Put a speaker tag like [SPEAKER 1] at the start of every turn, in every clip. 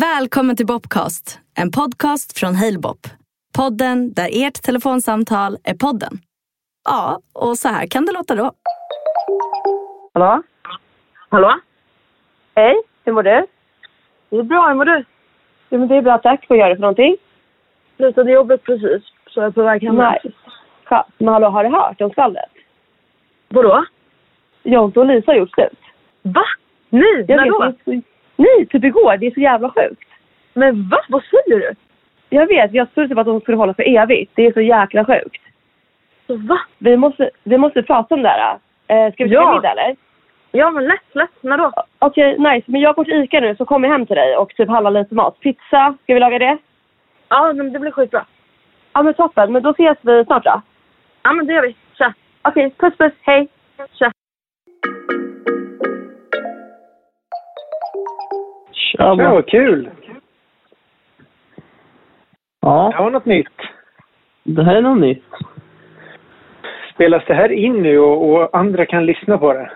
[SPEAKER 1] Välkommen till Bobcast, en podcast från Halebop. Podden där ert telefonsamtal är podden. Ja, och så här kan det låta då.
[SPEAKER 2] Hallå?
[SPEAKER 3] Hallå?
[SPEAKER 2] Hej, hur mår du?
[SPEAKER 3] Det är bra, hur mår du?
[SPEAKER 2] Jo, men det är bra tack. Vad gör du för någonting?
[SPEAKER 3] Slutade jobbet precis, så jag är på väg hem.
[SPEAKER 2] Nice. Skönt. Men hallå, har du hört om skvallret?
[SPEAKER 3] Vadå?
[SPEAKER 2] Jonte och Lisa har gjort slut.
[SPEAKER 3] Va? Nu?
[SPEAKER 2] Jag
[SPEAKER 3] När då?
[SPEAKER 2] vet, det är så... Nej, typ igår. Det är så jävla sjukt.
[SPEAKER 3] Men va? Vad säger du?
[SPEAKER 2] Jag vet, jag trodde typ att de skulle hålla för evigt. Det är så jäkla sjukt.
[SPEAKER 3] Så va?
[SPEAKER 2] Vi måste, vi måste prata om det här. Eh, ska vi käka
[SPEAKER 3] Ja.
[SPEAKER 2] middag eller?
[SPEAKER 3] Ja men lätt, lätt. När då?
[SPEAKER 2] Okej, nice. Men jag går till Ica nu så kommer jag hem till dig och typ handlar lite mat. Pizza, ska vi laga det?
[SPEAKER 3] Ja men det blir skitbra.
[SPEAKER 2] Ja men toppen, men då ses vi snart då.
[SPEAKER 3] Ja men det gör vi. Tja.
[SPEAKER 2] Okej, puss puss, hej!
[SPEAKER 3] Tja.
[SPEAKER 4] Ja,
[SPEAKER 5] Ja,
[SPEAKER 4] vad-
[SPEAKER 5] vad kul! Det
[SPEAKER 4] ja,
[SPEAKER 5] var något nytt.
[SPEAKER 4] det här är något nytt.
[SPEAKER 5] Spelas det här in nu och, och andra kan lyssna på det?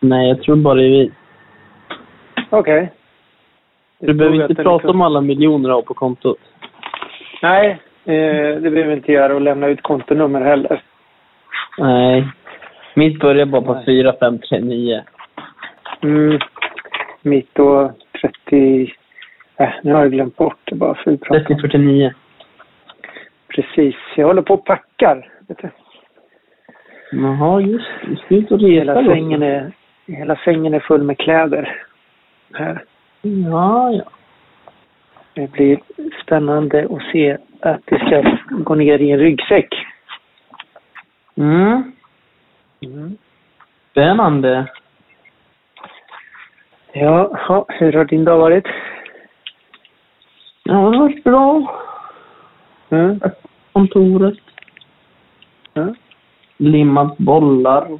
[SPEAKER 4] Nej, jag tror bara det är vi.
[SPEAKER 5] Okej.
[SPEAKER 4] Du behöver inte prata om alla miljoner du har på kontot.
[SPEAKER 5] Nej, eh, det behöver vi inte göra och lämna ut kontonummer heller.
[SPEAKER 4] Nej. Mitt börjar bara på 4, 5, 3, 9.
[SPEAKER 5] Mm. Mitt då 30... Äh, nu har jag glömt bort det bara för att prata
[SPEAKER 4] 30,
[SPEAKER 5] om.
[SPEAKER 4] 49.
[SPEAKER 5] Precis. Jag håller på och packar. Vet du.
[SPEAKER 4] Jaha, just det. Du ska ut och resa
[SPEAKER 5] Hela,
[SPEAKER 4] då.
[SPEAKER 5] sängen är, hela sängen är full med kläder. Här.
[SPEAKER 4] Ja, ja.
[SPEAKER 5] Det blir spännande att se att det ska gå ner i en ryggsäck.
[SPEAKER 4] Mm.
[SPEAKER 5] Mm.
[SPEAKER 4] Spännande.
[SPEAKER 5] Ja, ja, hur har din dag varit?
[SPEAKER 4] Ja, det har varit bra.
[SPEAKER 5] Mm.
[SPEAKER 4] Kontoret.
[SPEAKER 5] Ja.
[SPEAKER 4] Limmat bollar.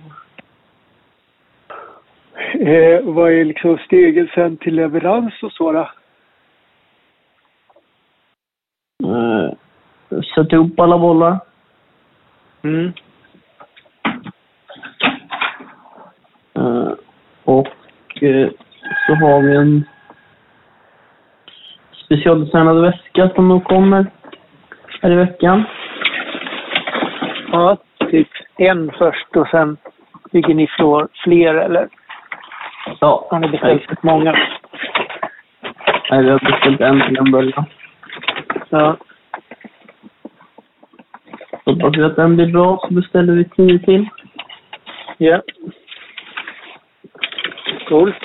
[SPEAKER 5] Eh, vad är liksom stegen sen till leverans och så då?
[SPEAKER 4] Eh, Satt ihop alla bollar.
[SPEAKER 5] Mm.
[SPEAKER 4] Eh, och eh, så har vi en specialdesignad väska som nog kommer här i veckan.
[SPEAKER 5] Ja, typ en först och sen bygger ni fler, fler eller
[SPEAKER 4] Ja,
[SPEAKER 5] har ni beställt många?
[SPEAKER 4] nej, vi har beställt en till en början.
[SPEAKER 5] Ja.
[SPEAKER 4] Hoppas vi att den blir bra så beställer vi tio till.
[SPEAKER 5] ja. Coolt.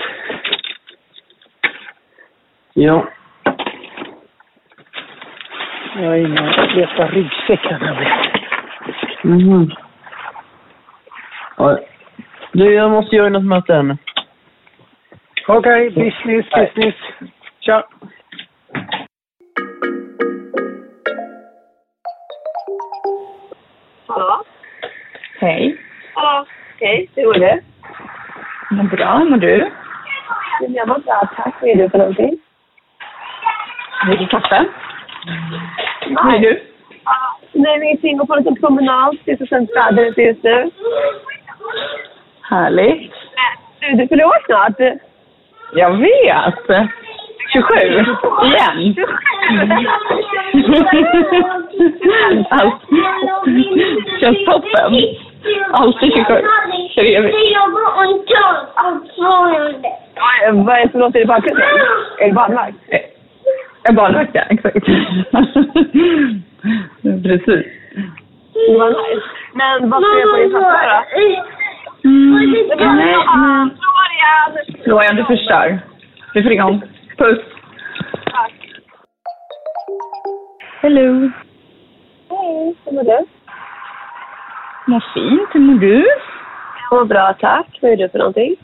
[SPEAKER 4] Ja.
[SPEAKER 5] Jag är inne och letar ryggsäckar nämligen.
[SPEAKER 4] Mhm. ja. Du, jag måste göra något möte här nu.
[SPEAKER 5] Okej, business, business. Tja.
[SPEAKER 3] Hallå?
[SPEAKER 6] Hej.
[SPEAKER 3] Ja. Hej, hur är det?
[SPEAKER 6] Men bra, hur mår du?
[SPEAKER 3] Jag mår bra tack. Vad är du för någonting?
[SPEAKER 6] Dricker du kaffe? Nej, du?
[SPEAKER 3] Nej, ingenting. Går på en liten promenad. Det är så sent väder ute just nu.
[SPEAKER 6] Härligt.
[SPEAKER 3] Du, du fyller år snart.
[SPEAKER 6] Jag vet. 27. Igen. Allt. Känns toppen. Alltid 27. För evigt.
[SPEAKER 7] Jag jobbar en dag fortfarande.
[SPEAKER 3] Vad- Vad är det som låter i bakgrunden? Är det barnvakt?
[SPEAKER 6] Jag barnvakt, ja. Exakt. Precis.
[SPEAKER 3] Det var nice. Men vad ska jag på din pappa då?
[SPEAKER 6] Mm.
[SPEAKER 7] Nej,
[SPEAKER 3] Florian!
[SPEAKER 6] Florian, du förstör. Vi får ringa om. Puss. Hello.
[SPEAKER 3] Hej, hur mår du?
[SPEAKER 6] Mår fint. Hur mår du?
[SPEAKER 3] Jag mår bra tack. Vad är du för någonting?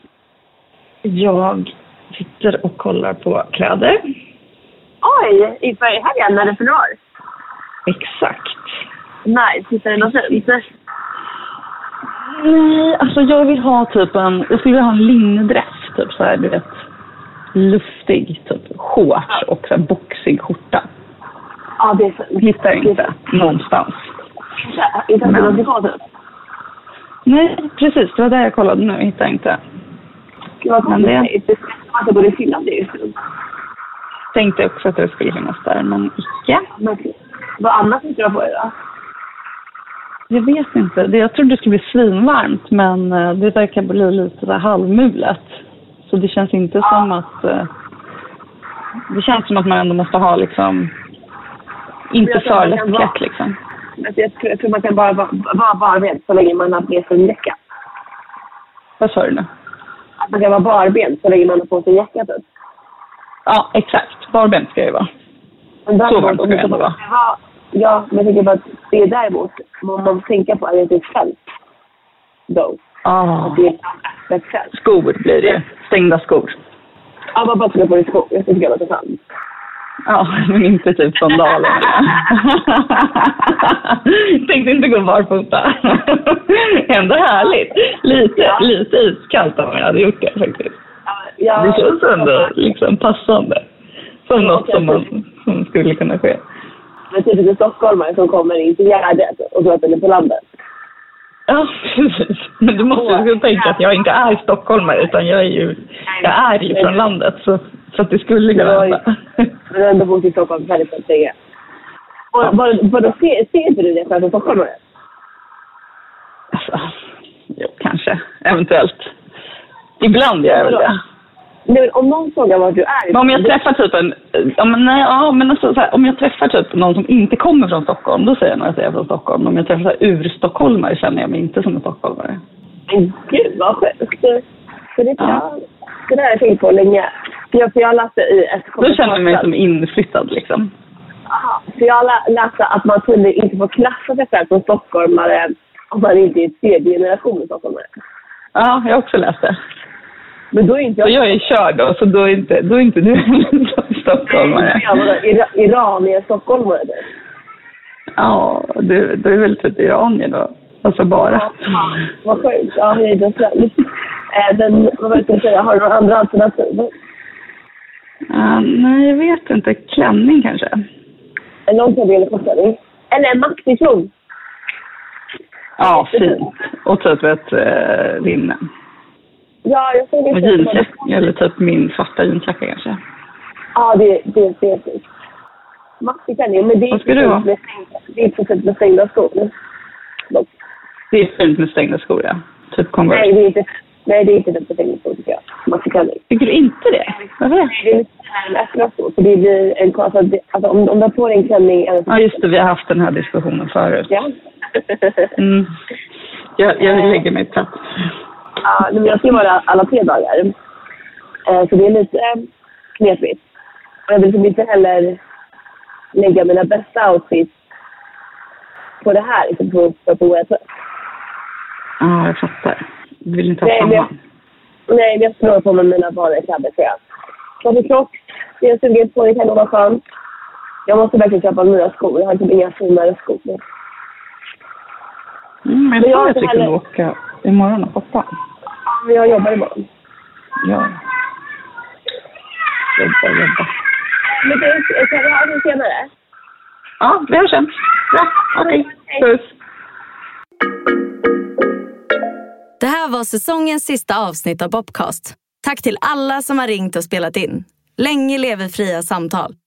[SPEAKER 6] Jag sitter och kollar på kläder.
[SPEAKER 3] Oj, inför i helgen när du fyller år?
[SPEAKER 6] Exakt.
[SPEAKER 3] Nice, hittade du något fint?
[SPEAKER 6] Nej, alltså jag vill ha typ en... Jag skulle vilja ha en linnedress. Typ så här, du vet. Luftig, typ shorts och så här boxig skjorta.
[SPEAKER 3] Ja, det är så.
[SPEAKER 6] Hittar inte någonstans.
[SPEAKER 3] Inte ens
[SPEAKER 6] Men-
[SPEAKER 3] något bra typ?
[SPEAKER 6] Nej, precis. Det var där jag kollade nu. Hittar jag inte.
[SPEAKER 3] Gud vad
[SPEAKER 6] Men det-
[SPEAKER 3] konstigt. att det borde finnas det just nu.
[SPEAKER 6] Tänkte också att det skulle finnas där, men icke.
[SPEAKER 3] Men Vad annat tänkte du ha på dig då?
[SPEAKER 6] Jag vet inte. Det- Jag trodde det skulle bli svinvarmt, men eh, det verkar bli lite där halvmulet. Så det känns inte som att... eh, Det känns som att man ändå måste ha liksom... Inte
[SPEAKER 3] Jag tror
[SPEAKER 6] för
[SPEAKER 3] man kan
[SPEAKER 6] lättklett
[SPEAKER 3] vara-
[SPEAKER 6] liksom.
[SPEAKER 3] Alltså, jag, tror, jag tror man kan bara vara bara, barbent så länge man har med sig en jacka.
[SPEAKER 6] Vad sa du nu?
[SPEAKER 3] Att man kan vara barbent så länge man har på sig en jacka typ.
[SPEAKER 6] Ja, exakt. Barbent ska jag ju vara.
[SPEAKER 3] Men
[SPEAKER 6] Så varmt ska det ändå vara.
[SPEAKER 3] Ja, Ja, men jag tänker bara att det är däremot vad man får tänka på är att det är kallt. Då.
[SPEAKER 6] Ah.
[SPEAKER 3] Att det är öppet kallt.
[SPEAKER 6] Skor blir det ju. Stängda skor.
[SPEAKER 3] Ja, man bara ska på dig skor. Jag tycker att det är sant.
[SPEAKER 6] Ja, men inte typ sandaler. Tänkte inte gå barfota. Ändå härligt. Lite,
[SPEAKER 3] Ja.
[SPEAKER 6] lite iskallt om jag hade gjort det faktiskt.
[SPEAKER 3] Ja,
[SPEAKER 6] Det känns ändå liksom passande. Som något som, man, som skulle kunna ske.
[SPEAKER 3] Men typ en stockholmare som kommer in till Gärdet och tror att den är på landet.
[SPEAKER 6] Ja, precis. Men du måste ju tänka att jag inte är stockholmare utan jag är ju, jag är ju från landet. Så, så att det skulle kunna
[SPEAKER 3] Oj.
[SPEAKER 6] hända.
[SPEAKER 3] Men ändå bott i Stockholm väldigt, väldigt länge. Var, var, var, ser, ser inte du det för att du är stockholmare?
[SPEAKER 6] Alltså, jo, kanske. Eventuellt. Ibland gör jag väl det.
[SPEAKER 3] Nej, men om någon frågar var du är
[SPEAKER 6] Men om jag träffar typ en... Ja, men nej, ja, men alltså, så här, om jag träffar typ någon som inte kommer från Stockholm, då säger jag nog att jag är från Stockholm. Om jag träffar så här urstockholmare känner jag mig inte som en stockholmare.
[SPEAKER 3] Men gud vad sjukt! För det,
[SPEAKER 6] Ja.
[SPEAKER 3] ja. det där har jag tänkt på länge. För jag, för jag läste i ett
[SPEAKER 6] Då känner jag mig som inflyttad liksom.
[SPEAKER 3] Aha, För jag lä- läste att man kunde inte få klassa sig själv som stockholmare om man inte är tredje generationens stockholmare.
[SPEAKER 6] Ja, jag har också läst det.
[SPEAKER 3] Men då är inte
[SPEAKER 6] Och
[SPEAKER 3] jag...
[SPEAKER 6] jag är körd då, så då är inte, då är inte du en stockholmare.
[SPEAKER 3] Jag var ira- Iranier-stockholmare. typ.
[SPEAKER 6] Ja, du, du är väl typ iranier då? Alltså bara.
[SPEAKER 3] Ja, Vad sjukt. Ja, jag är inte själv. Eh, Men vad var det jag skulle säga? Har du några andra alternativ?
[SPEAKER 6] Ja, nej, jag vet inte. Klänning kanske?
[SPEAKER 3] En långtradare eller kortradare? Eller en maxiflod?
[SPEAKER 6] Ja, fint. Och typ ett eh, linne.
[SPEAKER 3] Ja, jag såg
[SPEAKER 6] Och
[SPEAKER 3] inte.
[SPEAKER 6] jeansjacka, eller typ min svarta jeansjacka kanske.
[SPEAKER 3] Ja, det, det, det är fint. Maxiklänning. Men det är
[SPEAKER 6] Vad ska du ha?
[SPEAKER 3] med stängda- Det är precis med stängda skor. Dock.
[SPEAKER 6] Det är fint med stängda skor, ja. Typ Converse.
[SPEAKER 3] Nej, det är inte Nej, det är inte den på stängda skor tycker jag. Maxiklänning.
[SPEAKER 6] Tycker du inte det? Varför det?
[SPEAKER 3] Det är lite en öppna skor. För det blir en alltså, det, alltså om, om du har på dig en klänning eller
[SPEAKER 6] Ja, just det. Vi har haft den här diskussionen förut.
[SPEAKER 3] Ja.
[SPEAKER 6] Mm. Jag, jag lägger mig platt.
[SPEAKER 3] ja, nej, men jag ska ju vara alla tre dagar. Eh, Så det är lite eh, knepigt. Och jag vill liksom inte heller lägga mina bästa outfits på det här, liksom på, på, på OS.
[SPEAKER 6] Ja, jag fattar. Du vill inte ha
[SPEAKER 3] Nej, men
[SPEAKER 6] samma?
[SPEAKER 3] jag, nej, men jag slår på mig mina vanliga kläder tror jag. Kanske Crocs. Det är jag sugen på. Det kan nog vara skönt. Jag måste verkligen köpa nya skor. Jag har typ inga finare skor.
[SPEAKER 6] Mm, men jag
[SPEAKER 3] men jag
[SPEAKER 6] tror
[SPEAKER 3] har
[SPEAKER 6] att
[SPEAKER 3] inte
[SPEAKER 6] vi kunde
[SPEAKER 3] heller-
[SPEAKER 6] åka imorgon och shoppa.
[SPEAKER 3] Ja, Men jag jobbar imorgon.
[SPEAKER 6] Ja. Jobba, jobba.
[SPEAKER 3] Men det är, kan vi ha det senare?
[SPEAKER 6] Ja, vi hörs sen. Bra, okej. Puss.
[SPEAKER 1] Det här var säsongens sista avsnitt av Bobcast. Tack till alla som har ringt och spelat in. Länge leve fria samtal.